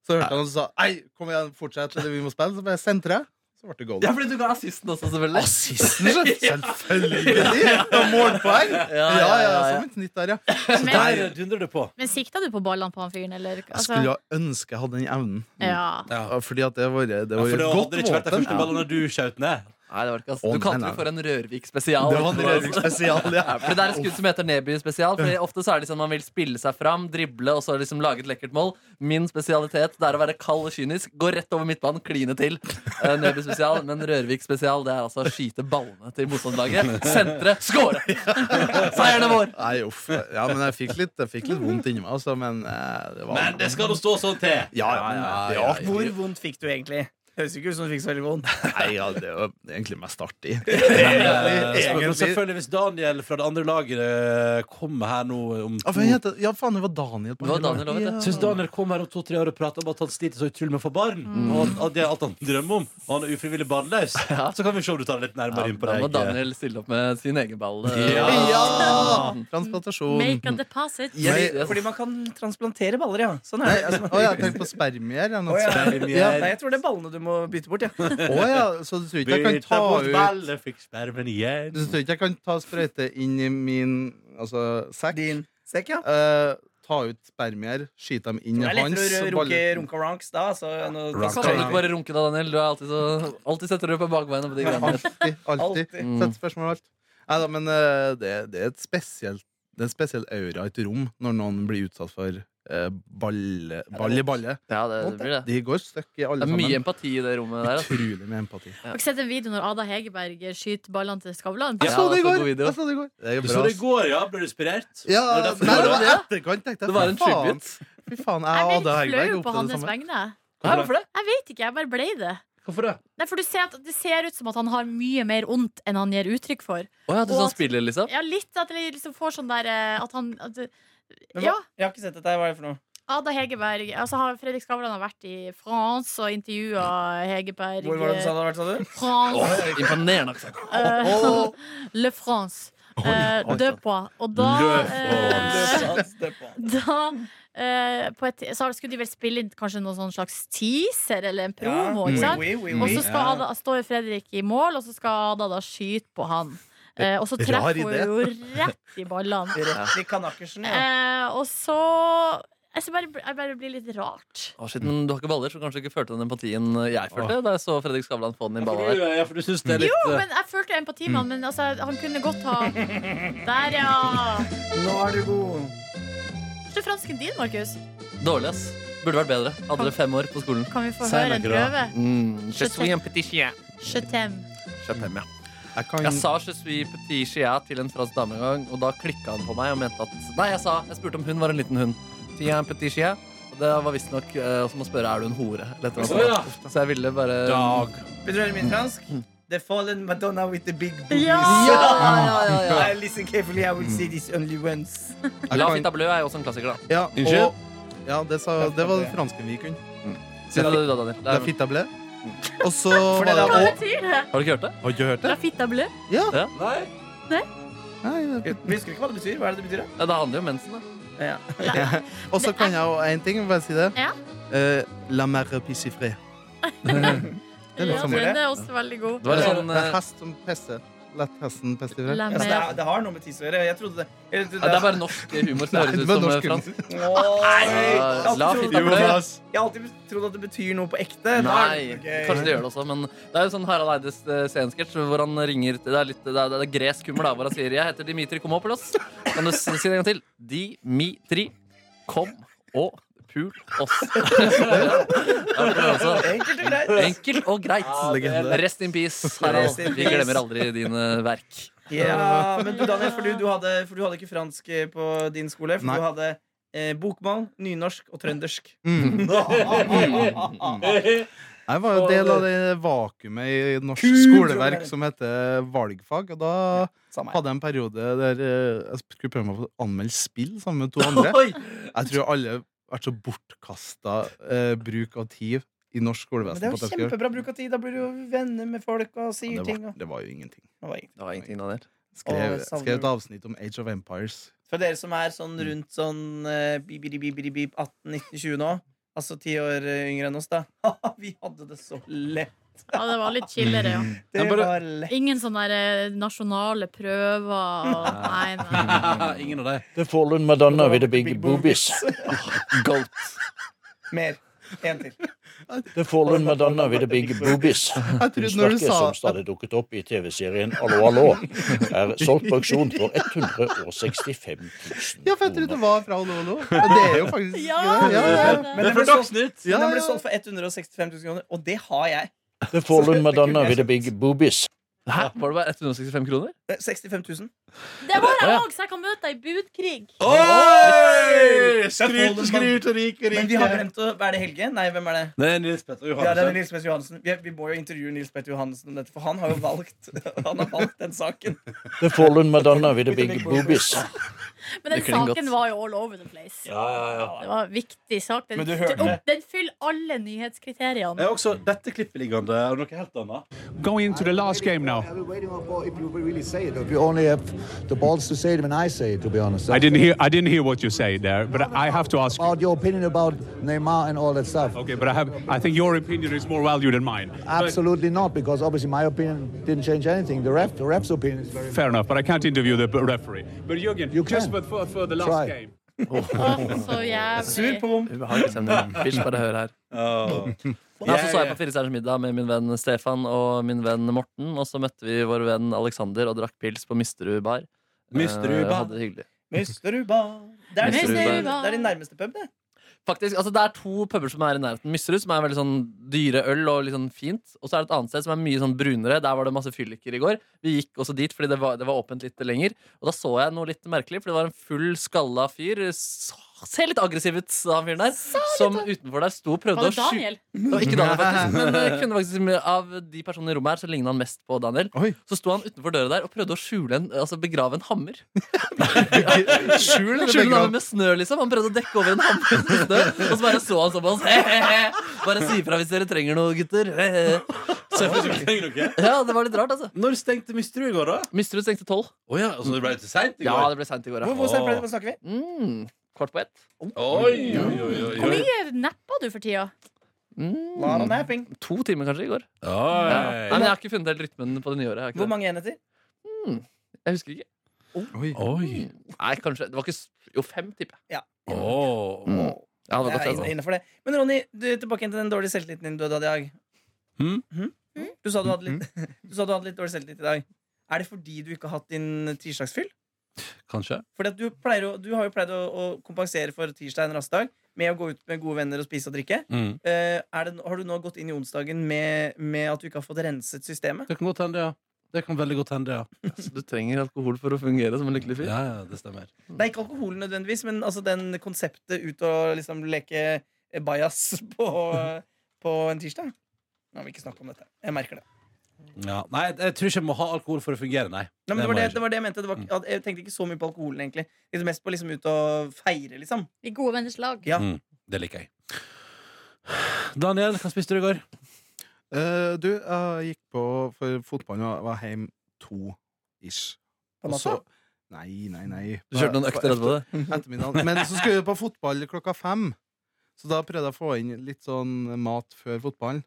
S8: Så hørte jeg noen som sa Nei, kom igjen, fortsett, eller vi må spille. Så bare sentra jeg. Så ble det goal.
S3: Ja, fordi du ga assisten også, selvfølgelig.
S8: Assisten, sjef. selvfølgelig! Og målpoeng.
S3: Ja,
S8: Ja, ja, ja, som et nytt der, ja.
S4: Men,
S2: Der dundrer det på.
S4: men sikta du på ballene på han fyren, eller? Altså,
S8: Jeg
S3: Altså-
S8: skulle ha ønske jeg hadde den evnen.
S4: ja.
S2: Ja,
S8: Fordi at det var, det
S2: for
S8: var
S2: det
S8: et godt
S2: hadde det ikke vært de
S8: våpen.
S2: første ballene du skjøt ned.
S3: Nei, det var det ikke, ass. Du
S8: Å, nei,
S3: kalte
S8: nei.
S3: det for en Rørvik-spesial.
S8: Det var en Rørvik spesial, ja.
S3: For Det er et skudd som heter Neby-spesial. Fordi Ofte så er det liksom man vil spille seg fram, drible og så liksom lage et lekkert mål. Min spesialitet det er å være kald og kynisk, gå rett over midtbanen, kline til. Eh, Neby-spesial, Men Rørvik-spesial det er altså å skyte ballene til motstanderlaget. Sentre, score! Seieren er vår!
S8: Nei, uff. Ja, men jeg fikk litt, jeg fikk litt vondt inni meg, altså. Men eh, det var
S2: Men det skal nå stå sånn til!
S8: Ja, ja, men det er artig.
S5: Hvor vondt fikk du egentlig? Høres ikke ut som du fikk så veldig vondt.
S8: Nei, ja, det er jo egentlig mest artig.
S2: Eh,
S8: Egentlig.
S2: men
S8: egentlig.
S2: Selvfølgelig, hvis Daniel fra det andre laget eh, kommer her nå om
S8: Ja, for jeg heter, ja, faen, det var Daniel. på
S3: Det var
S8: andre
S3: Daniel,
S8: lag.
S3: vet du.
S2: Syns Daniel kom her om to-tre år og prater om at han sliter så utrolig med å få barn. Og at- at det er alt han drømmer om. Og han er ufrivillig barnløs. Så kan vi se om du tar det litt nærmere inn på
S3: da må
S2: deg. eh.
S3: Daniel stille opp med sin egen ball. eh,
S2: Ja.
S8: Ja! Transplantasjon.
S4: Make a deposit.
S8: Ja. Nei,
S3: Yes.
S5: Fordi man kan transplantere baller, ja. Sånn
S8: Nei,
S5: er det.
S8: altså, å, jeg tenkte på spermier. jeg, nå.
S5: Å, ja.
S2: Spermier.
S5: Ja, nei, jeg tror det er ballene du må må bytte bort, jeg. Ja.
S8: Å ja, så du tror ikke jeg kan ta ut
S2: fikk spermen igjen.
S8: Du tror ikke jeg kan ta sprøyte inn i min altså, sekk?
S5: Din sekk, ja.
S8: Eh, ta ut spermier, skyte dem inn i
S5: Det er
S8: hans
S5: lettere å runke
S8: balle-
S5: runka ranks da. Så nå,
S2: Ronk
S3: Kan du ikke bare runke da, Daniel? Du er alltid, så, alltid setter du på bakbeina på de greiene. der.
S8: Alltid. alltid.
S5: Alltid.
S3: Mm.
S8: Sett spørsmål og alt. Nei da, men eh, det, det er et spesielt det er en spesiell aura i et rom når noen blir utsatt for eh, balle, ball i balle.
S3: Ja, det, det blir det.
S8: De går støkk i alle
S3: Det er mye
S8: sammen.
S3: empati i det rommet der. altså. ass.
S8: Utrolig med empati.
S4: Har dere sett en video når Ada Hegerberg skyter ballene til
S3: Ja,
S4: Skavlan?
S3: det er så god video.
S8: Jeg så det i går. Det er
S2: Du
S8: bra,
S2: så det
S8: ass.
S2: i går, ja? Ble du inspirert? Det
S8: Ja,
S2: var
S8: nei,
S2: derfor-
S8: det var
S3: det?
S8: etterkant, tenkte jeg.
S3: Det var en
S8: Fy faen.
S3: tribute.
S8: Fy faen, jeg
S4: Jeg
S8: og
S4: ble
S8: Ada
S4: litt
S8: Hegerberg
S4: flau på
S8: opplevde det
S4: hans
S8: samme.
S4: vegne.
S3: Hæ, hvorfor det?
S4: Jeg vet ikke, jeg bare ble det.
S2: Hvorfor det?
S4: Nei, for du ser at Det ser ut som at han har mye mer ondt enn han gir uttrykk for.
S3: Å ja, du sånn spiller, liksom?
S4: Ja, litt at jeg liksom får sånn der eh, At han at, du-
S5: Men hva-
S4: Ja,
S5: Jeg har ikke sett dette. her, Hva er det for noe?
S4: Ada Hegerberg altså har- Fredrik Skavlan har vært i France og intervjua Hegerberg. eh,
S5: Hvor var det du sa det hadde vært, sa du?
S4: France,
S3: Imponerende aksent.
S4: eh, Le France. Eh,
S8: oi,
S4: de Poix. Og da
S2: Le
S4: eh,
S5: Det var-
S4: da eh, på et, så skulle de vel spille inn kanskje noen sånn slags teaser eller en promo.
S5: Ja. Mm.
S4: ikke sant?
S5: Oui, oui, oui,
S4: Og
S5: oui.
S4: så skal Ada, står Fredrik i mål, og så skal Ada da skyte på han. Eh, og så
S8: Rar
S4: treffer hun
S8: idé.
S4: jo rett i ballene.
S5: Rett i kanakersen. Ja.
S4: Eh, og så jeg, så bare, jeg bare blir litt rart.
S3: Å, shit, men du har ikke baller, så kanskje du ikke følte den empatien jeg følte da jeg så Fredrik Skavlan få den i
S2: Ja,
S3: balla der.
S2: for du, ja, for du syns det er litt
S4: Jo,
S2: eh,
S4: men jeg følte empati med han, men altså, han kunne godt ha Der, ja.
S5: Nå er du god.
S4: Kanskje fransken din, Markus?
S3: Dårlig, ass. Burde vært bedre. Hadde dere fem år på skolen.
S4: Kan vi få
S2: Sei
S4: høre en
S2: noe, da.
S4: prøve?
S3: Mm,
S4: je suis un Je t'aime.
S8: Jeg kan
S3: Jeg sa 'je suis petit chien' til en fransk dame en gang, og da klikka han på meg og mente at Nei, jeg sa Jeg spurte om hun var en liten hund. Tien un petit chien. Og det var visstnok eh, som å spørre er du en hore. Eller et eller
S2: Å,
S3: annet.
S2: ja.
S3: sånt. Så jeg ville bare
S2: Dag.
S3: Eh.
S5: Vil du høre min fransk? The fallen Madonna with the big boobies.
S4: Ja!
S3: ja, ja, ja, ja.
S5: I listen carefully, I will see this only once.
S3: La fitta blø er jo også en klassiker, da.
S8: ja,
S2: Unnskyld?
S8: og- Ja, det, sa, det var det fransken vi kunne.
S3: Si det du, da, Daniel. Det
S8: La
S3: er- Mm.
S8: fitta ble. Og så
S5: For
S8: var
S5: det
S8: det
S5: da-
S4: Hva
S8: og,
S4: betyr det?
S3: Har du ikke hørt det?
S8: Har du ikke hørt det?
S4: La fitta bleu?
S2: Nei.
S8: Nei, det-
S5: Vi husker ikke hva det betyr. Hva er det det betyr, da?
S3: Ja, det handler jo om mensen, da.
S5: Ja.
S8: Og så kan jeg jo én ting, bare si det.
S4: Ja.
S8: Eh, la merre pissifré. Det er litt
S4: Ja,
S8: som
S4: den
S8: det.
S4: er også veldig god.
S3: Det var litt
S5: Ja.
S3: sånn
S8: Det er
S3: eh,
S8: hest som pisser. La hesten pisse i fred.
S4: La
S5: Altså, det,
S4: meg
S5: er, det har noe med tiss å gjøre. Jeg trodde det. Jeg trodde
S3: ja, Det er bare norsk humor som
S8: Nei,
S3: høres
S8: det
S3: ut
S8: var
S3: som eh,
S8: norsk humor.
S3: fransk.
S5: Åh, jeg har
S3: Nei,
S5: alltid
S3: la
S5: trodd
S3: fitta
S5: at
S3: blø.
S5: det-
S3: ja.
S5: Jeg har alltid trodd at det betyr noe på ekte. Da er det
S3: Nei,
S5: noe gøy.
S3: kanskje det gjør det også, men det er jo sånn Harald Eides eh, scenesketsj hvor han ringer til- Det er litt det er, det er gresk humor, da, hvor han sier 'Jeg heter Dimitri Komopoulos'. Kan du si si det en gang til? Dimitri, kom og pul oss. Ja, det er altså
S5: Enkelt og
S3: Enkelt
S5: greit.
S3: og greit. Rest in peace, Harald.
S5: Rest in
S3: Vi
S5: peace.
S3: glemmer aldri dine verk.
S5: Ja, men du, Daniel, for du, du, hadde, for du hadde ikke fransk eh, på din skole. For
S8: Nei.
S5: du hadde eh, bokmål, nynorsk og trøndersk.
S8: Mm. Jeg var jo del av det vakuumet i norsk skoleverk som heter valgfag. Og da
S5: Samme her.
S8: hadde jeg en periode der eh, jeg skulle prøve meg på å anmelde spill sammen med to andre.
S3: Oi!
S8: Jeg tror alle har vært så bortkasta eh, bruk av tid i norsk
S5: Men det
S8: skolevesen.
S5: er
S8: på
S5: jo
S8: at jeg skulle-
S5: kjempebra bruk av tid. Da blir du jo venner med folk og
S8: Ja,
S5: sier
S8: det,
S5: ting.
S8: var,
S5: Og,
S8: det var jo ingenting.
S5: det var ingenting.
S3: Det var ingenting av det.
S5: Åh,
S8: Skrev,
S5: jeg savner
S8: skrev et
S5: det.
S8: avsnitt om Age of Empires.
S5: for dere som er sånn rundt sånn eh, bip, bip, bip, bip, bip, 18-19-20 nå, altså ti år eh, yngre enn oss, da Vi hadde det så lett.
S4: Ja, det var litt chillere, ja.
S5: Det
S2: Jeg bare-
S5: var lett.
S4: Ingen sånne der, eh, nasjonale prøver og Nei, nei.
S2: eh, Ingen av dem.
S1: The fallen Madonna with the big
S5: Big
S1: boobies.
S3: Goat.
S5: Mer. En til.
S1: The fallen Madonna with the big boobies.
S8: Jeg trodde når du
S1: Kunstverket
S8: sa
S1: som stadig dukket opp i TV-serien Allo, allo, er solgt på auksjon for 165
S8: Ja,
S1: 000
S8: for jeg trodde det
S1: kroner.
S8: var fra Lolo. Men det er jo faktisk
S4: Ja,
S8: ja, ja.
S2: Det
S5: Men den
S2: er
S5: ble,
S2: for
S5: solgt,
S2: Dagsnytt!
S8: Ja,
S5: den ble
S8: ja.
S5: solgt for 165 000 kroner, og det har jeg.
S1: The fallen Madonna with the big boobies.
S3: Hæ? Var det bare 165 kroner?
S5: Eh, 65 000.
S4: Det var jeg òg, så jeg kan møte deg i budkrig.
S2: Oi!
S5: Skryt, skryt
S2: og rik og
S5: Men vi har glemt å Er det Helge? Nei, hvem er det?
S2: Det er Nils Petter
S5: Ja, det er
S2: Johansen.
S5: Nils Petter Johansen. Vi, vi må jo intervjue Nils Petter Johansen om dette, for han har jo valgt Han har valgt den saken.
S1: The fallen Madonna with the big boobies.
S4: Men den
S3: Det klinger
S4: saken
S3: godt.
S4: var jo all over the place.
S2: Ja, ja, ja.
S4: Det var en viktig sak. Den,
S5: Men du hørte
S4: opp- den fyller alle nyhetskriteriene.
S2: Jeg har også dette klippet liggende. Er det noe helt annet?
S9: going into the last game now.
S10: You only have the balls to say it when I say it, to be honest.
S9: I didn't hear. I didn't hear what you say there, but I have to ask. you.
S10: About your opinion about Neymar and all that stuff.
S9: Okay, but I have. I think your opinion is more valued than mine.
S10: Absolutely not, because obviously my opinion didn't change anything. The ref, the ref's opinion is very.
S9: Fair enough, but I can't interview the b- referee. But Jürgen,
S10: You can.
S9: just but for, for the last
S10: Try.
S9: game.
S4: Å, så
S5: Sur
S4: jævlig.
S5: på rom.
S3: Ubehagelig stemning. Bitch, bare hør her. Ja, så så jeg på Firestjerners middag med min venn Stefan og min venn Morten. Og så møtte vi vår venn Alexander og drakk pils på Mysterud bar.
S2: Mysterud
S3: Eh,
S2: bar.
S3: hadde det hyggelig.
S5: Mysteruba. Det er,
S3: Mysteruba.
S5: det, er din nærmeste pub, det.
S3: Faktisk, altså Det er to puber som er i nærheten. Mysterud, som er veldig sånn dyre øl og litt sånn fint. Og så er det et annet sted som er mye sånn brunere. Der var det masse fylliker i går. Vi gikk også dit fordi det var, det var åpent litt lenger. Og da så jeg noe litt merkelig, for det var en full skalla fyr. s- Ser litt aggressiv ut, han fyren der. Som utenfor der sto og prøvde å
S4: Var det Daniel?
S3: Det var ikke Daniel, faktisk. Men eh, kunne faktisk si av de personene i rommet her, så lignet han mest på Daniel.
S8: Oi.
S3: Så sto han utenfor døra der og prøvde å skjule en, altså begrave en hammer.
S8: Skjul eller
S3: Skjule en
S8: begrav?
S3: hammer med snø, liksom. Han prøvde å dekke over en hammer med snø, og så bare så han sånn på oss. «Hehehe, Bare si ifra hvis dere trenger noe, gutter. Hehehe.
S2: Så jeg får ikke tenkt noe.
S3: Ja, det var litt rart, altså.
S2: Når stengte Mystery i går, da?
S3: Mistrud stengte tolv.
S2: Å ja, altså det ble litt seint i
S3: Ja,
S2: går?
S3: det ble seint i går,
S5: Hvor,
S3: ja.
S5: hvor sent ble det? Hva snakker vi?
S3: Mm, kvart på ett.
S2: Oi, oi, oi, oi,
S4: Hvor
S2: oi.
S4: mye nappa du for tida?
S5: Lot of
S3: Mm,
S5: napping.
S3: to timer kanskje i går. Ja. Nei,
S2: Oi.
S3: men Jeg har ikke funnet helt rytmen på det nye året. Jeg, har
S5: Hvor
S3: ikke det.
S5: mange enheter?
S3: jeg husker ikke.
S8: Oi.
S2: Oi.
S3: Nei, kanskje Det var ikke s- Jo, fem, tipper jeg.
S2: Åh.
S3: Mm. Ja, det var godt,
S5: Jeg
S3: det,
S5: er
S3: altså.
S5: inne- innenfor det. Men Ronny, du, tilbake igjen til den dårlige selvtilliten din du hadde i dag.
S3: Hmm?
S2: Hm?
S5: Mhm. Du, sa du, hadde litt, du sa du hadde litt dårlig selvtillit i dag. Er det fordi du ikke har hatt din tirsdagsfyll?
S2: Kanskje.
S5: Fordi at du, pleier, å- du har jo pleid å, å kompensere for tirsdag en rastdag med å gå ut med gode venner og spise og drikke.
S2: Mm.
S5: Eh, er det, har du nå gått inn i onsdagen med, med at du ikke har fått renset systemet?
S2: Det kan godt hende, ja. Det kan veldig godt hende, ja.
S3: Så du trenger alkohol for å fungere som en lykkelig fyr?
S2: Ja, ja, det stemmer.
S5: Det er ikke alkoholen nødvendigvis, men altså den konseptet ut og liksom leke eh, bajas på, på en tirsdag. Nå vil vi ikke snakke om dette. Jeg merker det.
S2: Ja. Nei, jeg tror ikke jeg må ha alkohol for å fungere, nei.
S5: Nei, men
S2: Det
S5: det, var
S2: må
S5: det,
S2: jeg
S5: det var det jeg mente. Det var, ikke- at jeg tenkte ikke så mye på alkoholen, egentlig. Litt mest på liksom ut og feire, liksom.
S4: I gode venners lag.
S5: Ja.
S2: Mm. Det liker jeg. Daniel, hva spiste du i går?
S8: Eh, du, jeg gikk på for fotballen og var hjemme to ish.
S5: På
S8: Og så-
S5: natta.
S8: Nei, nei, nei.
S3: Du kjørte noen økter etterpå det?
S8: Ettermiddagen. Men så skulle vi på fotball klokka fem. Så da prøvde jeg å få inn litt sånn mat før fotballen.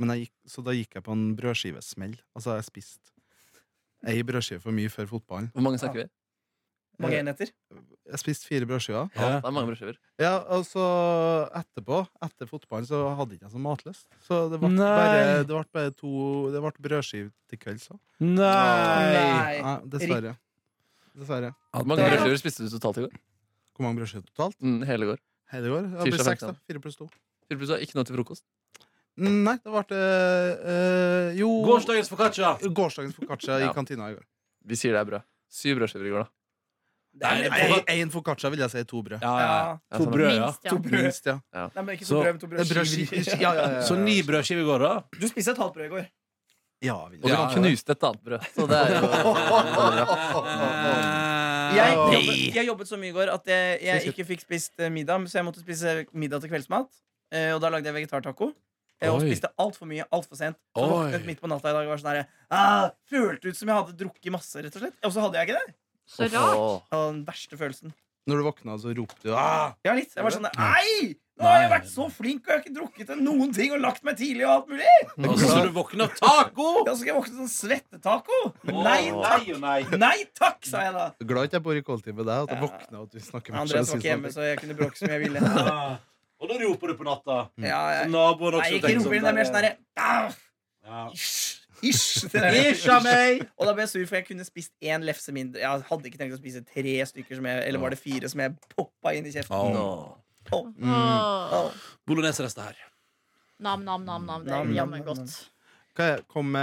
S8: Men jeg gikk, så da gikk jeg på en brødskivesmell. Altså, jeg spiste ei brødskive for mye før fotballen.
S3: Hvor mange snakker vi?
S5: Mange enheter.
S8: Jeg spiste fire brødskiver.
S3: Ja, det er mange brødskiver.
S8: Ja, og så etterpå, etter fotballen, så hadde jeg ikke så matlyst. Så det ble
S2: Nei.
S8: bare, det ble bare to Det ble brødskive til kvelds òg.
S2: Nei!
S5: Nei.
S8: Nei, dessverre. Dessverre.
S3: Hvor mange brødskiver spiste du totalt i går?
S8: Hvor mange brødskiver totalt?
S3: Mm, hele går.
S8: Hei, det går. Det
S3: Tirsdag
S8: blir seks, da.
S3: 15.
S8: Fire pluss to.
S3: Fyr pluss, du har ikke noe til frokost?
S8: Nei, det ble eh, Jo
S2: Gårsdagens foccaccia!
S8: Gårsdagens foccaccia i
S3: Ja.
S8: kantina i går.
S3: Vi sier det er brød. Syv brødskiver i går, da.
S2: Nei,
S8: Nei, Én foccaccia vil jeg si to brød.
S2: Ja, ja.
S5: sånn. Ja.
S3: Ja,
S2: To
S3: sånn.
S2: brød, ja.
S4: Minst, ja.
S8: Minst, ja.
S5: Nei, men ikke
S2: Så-
S5: to brød, men to brød.
S8: Brødskiver. Ja, ja, ja, ja.
S2: Så ni brødskiver i går, da?
S5: Du spiste et halvt brød i går.
S8: Ja, vil
S3: Og
S8: jeg.
S3: du knuste et annet brød. Så det er jo
S5: Jeg
S8: Nei.
S5: jobbet, jeg jobbet så mye i går at jeg, jeg ikke fikk spist eh, middag, så jeg måtte spise middag til kveldsmat. Eh, Og da lagde jeg vegetartaco. eh, Og
S2: Oi.
S5: spiste altfor mye altfor sent. Så
S2: Oi.
S5: våknet midt på natta i dag og var sånn her ah, Følte ut som jeg hadde drukket masse, rett og slett. Og så hadde jeg ikke det.
S4: Så rart.
S3: Åh.
S5: Det var den verste følelsen.
S8: Når du våkna, så ropte du ah!
S5: Ja, litt. Jeg var sånn Nei! Nå har jeg vært så flink, og jeg har ikke drukket til noen ting og lagt meg tidlig og alt mulig.
S2: Og så du våkna av taco!
S5: Ja, så skal jeg våkne til sånn svettetaco. Nei takk!
S2: og nei.
S5: Nei takk, sa jeg da.
S8: Glad ikke jeg bor i kollektiv med deg, at jeg våkna og at vi snakker med
S5: Andreas var ikke hjemme, så jeg kunne bråke som jeg ville. Ja,
S2: Og da roper du på natta.
S5: ja.
S2: Naboen
S5: Nei, ikke roper inn. Det er mer sånn herre «Bah, Hysj! Hysj! Det er- Og da ble jeg sur, for jeg kunne spist én lefse mindre. Jeg hadde ikke tenkt å spise tre stykker, som jeg, eller var det fire, som jeg poppa inn i kjeften.
S8: Mm.
S4: Åh.
S5: Åh.
S2: Bolognesrester her.
S4: Nam, nam, nam, nam. Det er
S5: Nam, nam,
S4: jammen
S5: nam, nam.
S4: godt.
S8: Kan jeg komme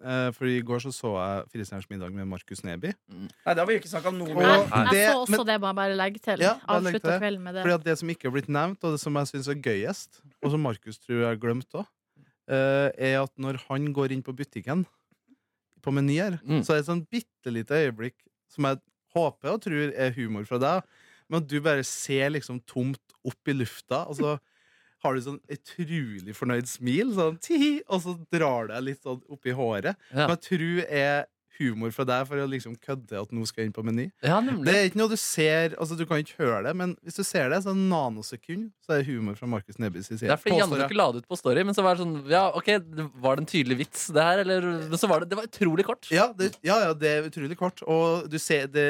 S8: eh, For i går så så jeg Firestjerners middag med Markus Neby.
S5: Nei, da har vi jo ikke snakka om noe.
S8: Og
S4: Jeg,
S5: mer.
S8: det,
S4: jeg så også
S8: men,
S4: det, må jeg bare legge til.
S8: Ja, bare legg til
S4: Avslutta
S8: det.
S4: kvelden med
S8: fordi
S4: det.
S8: at det som ikke har blitt nevnt, og det som jeg syns er gøyest, og som Markus tror jeg har glemt òg, er at når han går inn på butikken, på Meny her,
S3: Mm.
S8: så er det et sånn bitte lite øyeblikk som jeg håper og tror er humor fra deg, men at du bare ser liksom tomt opp i lufta, og så har du sånn utrolig fornøyd smil, sånn, tihi, og så drar det litt sånn oppi håret.
S3: Ja.
S8: Som jeg tror er humor fra deg for å liksom kødde at nå skal jeg inn på Meny.
S3: Ja,
S8: Det
S3: nemlig.
S8: er ikke noe du ser, altså du kan ikke høre det, men hvis du ser det, så en nanosekund, så er det humor fra Markus Nebby sin
S3: Det
S8: side.
S3: er fordi
S8: Påstår
S3: Janne
S8: jeg.
S3: ikke la det ut på Story, men så var det sånn Ja, ok, det- var det en tydelig vits, det her? Eller Men så var det Det var utrolig kort.
S8: Ja, det, ja, ja, det er utrolig kort. Og du ser det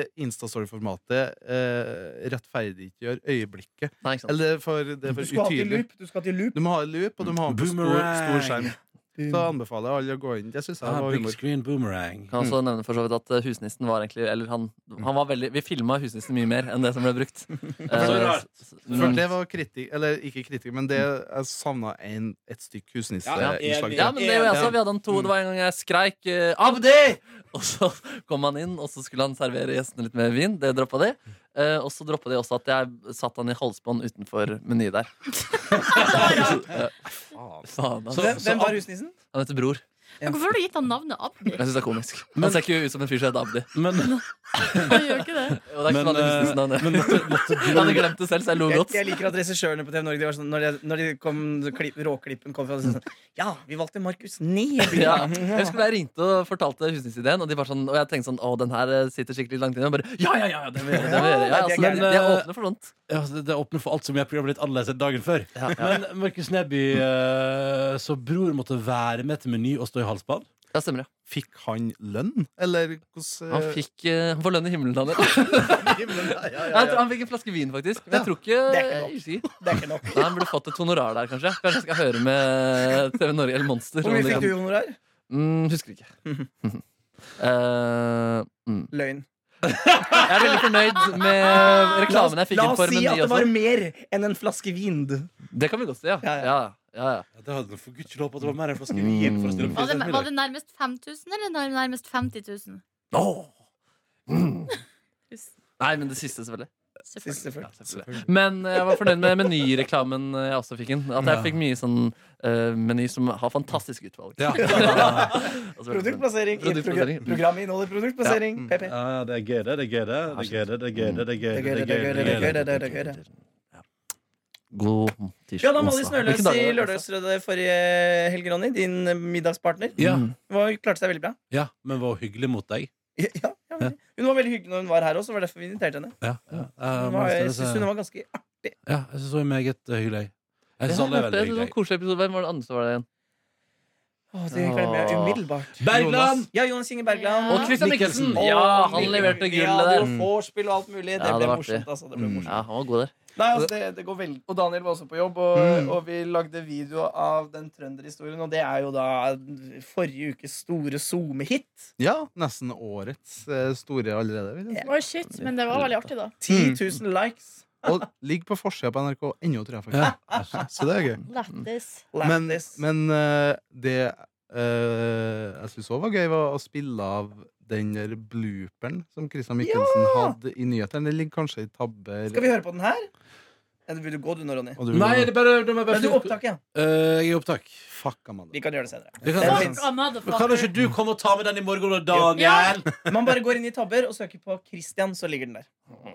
S8: Instastory-formatet eh, rettferdiggjør øyeblikket.
S3: Nei, ikke sant.
S8: Eller det er for, det er
S5: Du
S8: for
S5: skal til
S8: utydelig.
S5: loop. Du skal til loop.
S8: Du må ha en loop, og du må ha den på stor, stor skjerm. Så anbefaler jeg alle å gå inn. Jeg synes det
S2: Ah,
S8: var
S2: big
S8: humor.
S2: screen boomerang.
S3: Kan
S8: Mm.
S3: også nevne for så vidt at eh, husnissen var egentlig Eller han, han var veldig Vi filma husnissen mye mer enn det som ble brukt. Eh,
S2: rart.
S8: For det var kritikk, eller ikke kritikk, men det jeg savna en- et stykk
S2: Ja, ja,
S8: husnisseinnslag.
S3: Ja, men det gjorde jeg også. Vi hadde han to. Det var en gang jeg skreik eh, 'Abdi!' Og så kom han inn, og så skulle han servere gjestene litt mer vin. Det droppa de. Eh, og så droppa de også at jeg satt han i halsbånd utenfor Meny der. Ja. Faen, altså.
S5: Hvem, hvem var husnissen?
S3: Han heter Bror.
S4: Men hvorfor har du gitt han navnet Abdi?
S3: Jeg syns det er komisk. Han ser ikke ut som en fyr som heter Abdi.
S2: Men,
S4: Han gjør ikke det.
S3: Og det er ikke
S2: men,
S3: så vanlig
S2: eh,
S3: business navn, det.
S2: men måtte, måtte
S3: Jeg hadde glemt det selv, så jeg lo
S5: Jeg,
S3: godt.
S5: jeg liker at regissørene på TV Norge de var sånn, Når, de- når de kom, klipp, råklippen kom fra så sånn, Ja, vi valgte Markus Neby!
S3: Ja. Jeg husker da jeg ringte og fortalte husnissideen, og, de var sånn, og jeg tenkte sånn Å, den her sitter sikkert litt langt inne. Og bare Ja, ja, ja! Det vil jeg gjøre. Det vil jeg gjøre. Ja,
S5: Ja, det er
S3: altså,
S5: gærent.
S3: de er åpne for sånt.
S2: ja, det, det åpner for alt som gjør programmet litt annerledes enn dagen før.
S3: Ja, ja.
S2: Men Markus Neby, eh, så bror måtte være med til Meny og stå i halsbånd?
S3: ja, stemmer det.
S8: Fikk han lønn, eller hvordan
S3: Han fikk eh, Han får lønn i himmelen, han. eller? Jeg tror Han fikk en flaske vin, faktisk. Men jeg tror ikke,
S5: det er ikke
S3: jeg
S5: nok.
S3: er usikker.
S5: Det er ikke nok.
S3: eh, Nei, Han burde fått et honorar der, kanskje. Kanskje jeg skal høre med TV Norge eller Monster.
S5: Hvor
S3: om de
S5: mye fikk du Mhm.
S3: kan-
S5: i honorar?
S3: Mm, husker ikke. Eh, mm.
S5: Løgn.
S3: Jeg er veldig fornøyd med
S5: La oss,
S3: reklamen jeg fikk
S5: la
S3: inn
S5: oss
S3: for
S5: si at
S3: Meny
S5: det var
S3: også.
S5: mer enn en flaske vin.
S3: Det kan vi godt si, ja.
S5: Ja, ja.
S3: ja, ja, ja.
S2: Ja, det hadde for gudskjelov håpet at det var mer enn flaske vin. For å stille opp
S4: Var
S2: til
S4: det, var
S2: middag.
S4: det nærmest 5000, eller nær- nærmest 50 000?
S3: Åh. Mm. Nei, men det siste, selvfølgelig.
S5: Sist,
S4: Selvfølgelig.
S5: selvfølgelig.
S3: Men eh, jeg var fornøyd med menyreklamen eh, jeg også fikk inn. At jeg fikk mye sånn eh, meny som har fantastisk utvalg.
S2: Ja.
S3: Og så var det sånn-
S5: Produktplassering. i
S3: Produktplassering.
S5: program- Programmet inneholder produktplassering. PP.
S2: Ja, ja, det er gøy, det. Det er gøy, det. Det er gøy, det. Det er gøy, det. Det er gøy, det. Det er gøy, det. Det er gøy, det.
S5: det er gøy, det.
S3: Ja. God tirsdag.
S5: Bjørn Amalie
S3: onsdag.
S5: Snøløs
S3: Hvilken dag er
S5: i
S3: det?
S5: Lørdagsrødet forrige helg, Ronny. Din eh, middagspartner.
S2: Ja,
S3: Mm.
S5: Var, klarte seg veldig bra.
S2: ja, men var hyggelig mot deg.
S5: Ja, ja, veldig. hun var veldig hyggelig når hun var her også. Det var derfor vi inviterte henne.
S2: Ja, ja.
S5: Hun
S2: Eh,
S5: var,
S2: men
S5: jeg
S2: så-
S5: synes hun var ganske
S2: Ja, jeg syns hun er meget eh, hyggelig. Jeg syns
S3: Ja,
S2: alle er
S3: det
S2: veldig
S3: var en
S2: hyggelige.
S3: koselig episode. Hvem var det andre som var der igjen?
S5: Åh, det glemmer jeg umiddelbart.
S2: Bergland!
S5: Ja, Jonas Inge Bergland.
S4: Ja.
S3: Og Christian
S2: Mikkelsen.
S3: Mikkelsen!
S5: Åh,
S3: Ja, han
S5: Mikkel-
S3: leverte
S5: Ja,
S3: gullet
S5: det
S3: der.
S5: var vorspiel og alt mulig. Det
S3: Ja, det
S5: ble
S3: var
S5: morsomt.
S3: artig.
S5: Altså. Det ble morsomt.
S3: Ja, han var god der.
S5: Nei, altså, det, det går veldig. Og Daniel var også på jobb, og, og vi lagde video av den trønderhistorien. Og det er jo da forrige ukes store SoMe-hit.
S8: Ja, nesten årets eh, store allerede. Vil jeg. si.
S4: Oi, shit, men det var veldig artig, da.
S5: 10 000 likes.
S8: Og ligger på forsida på NRK ennå, tror jeg.
S2: Ja. altså,
S8: faktisk. Så det er gøy.
S4: Lættis.
S8: Men,
S5: Lættis.
S8: men eh, det eh, jeg syns òg var gøy, var å spille av den der blooperen som Christian Michelsen hadde i nyhetene. Den ligger kanskje i tabber.
S5: Skal vi høre på den her? Eller vil du gå, du nå, Ronny?
S8: Og du,
S2: Nei, det er bare, det er bare
S5: Men du opptaket, ja.
S2: Eh, jeg er i opptak.
S8: Fuck, Amanda.
S5: Vi kan gjøre det senere.
S2: Det
S5: Det
S2: kan,
S5: finnes.
S4: Fuck a motherfucker.
S2: kan ikke du komme og ta med den i morgen, Daniel?
S4: Ja.
S5: Man bare går inn i tabber og søker på Christian, så ligger den der.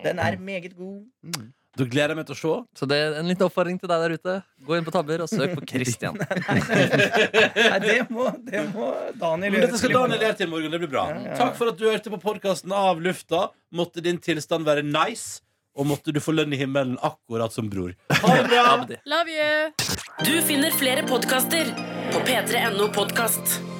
S5: Den er meget god.
S2: Da gleder jeg meg til å se.
S3: Så det er en liten oppfordring til deg der ute. Gå inn på tabber og søk på Christian.
S5: Nei, det må, det må Daniel
S2: Men
S5: gjøre.
S2: Dette skal Daniel lære til i morgen. Det blir bra. Takk for at du hørte på podkasten Av lufta. Måtte din tilstand være nice, og måtte du få lønn i himmelen akkurat som bror. Ha det bra!
S3: Abdi.
S4: Love you!
S11: Du finner flere podkaster på p3.no podkast.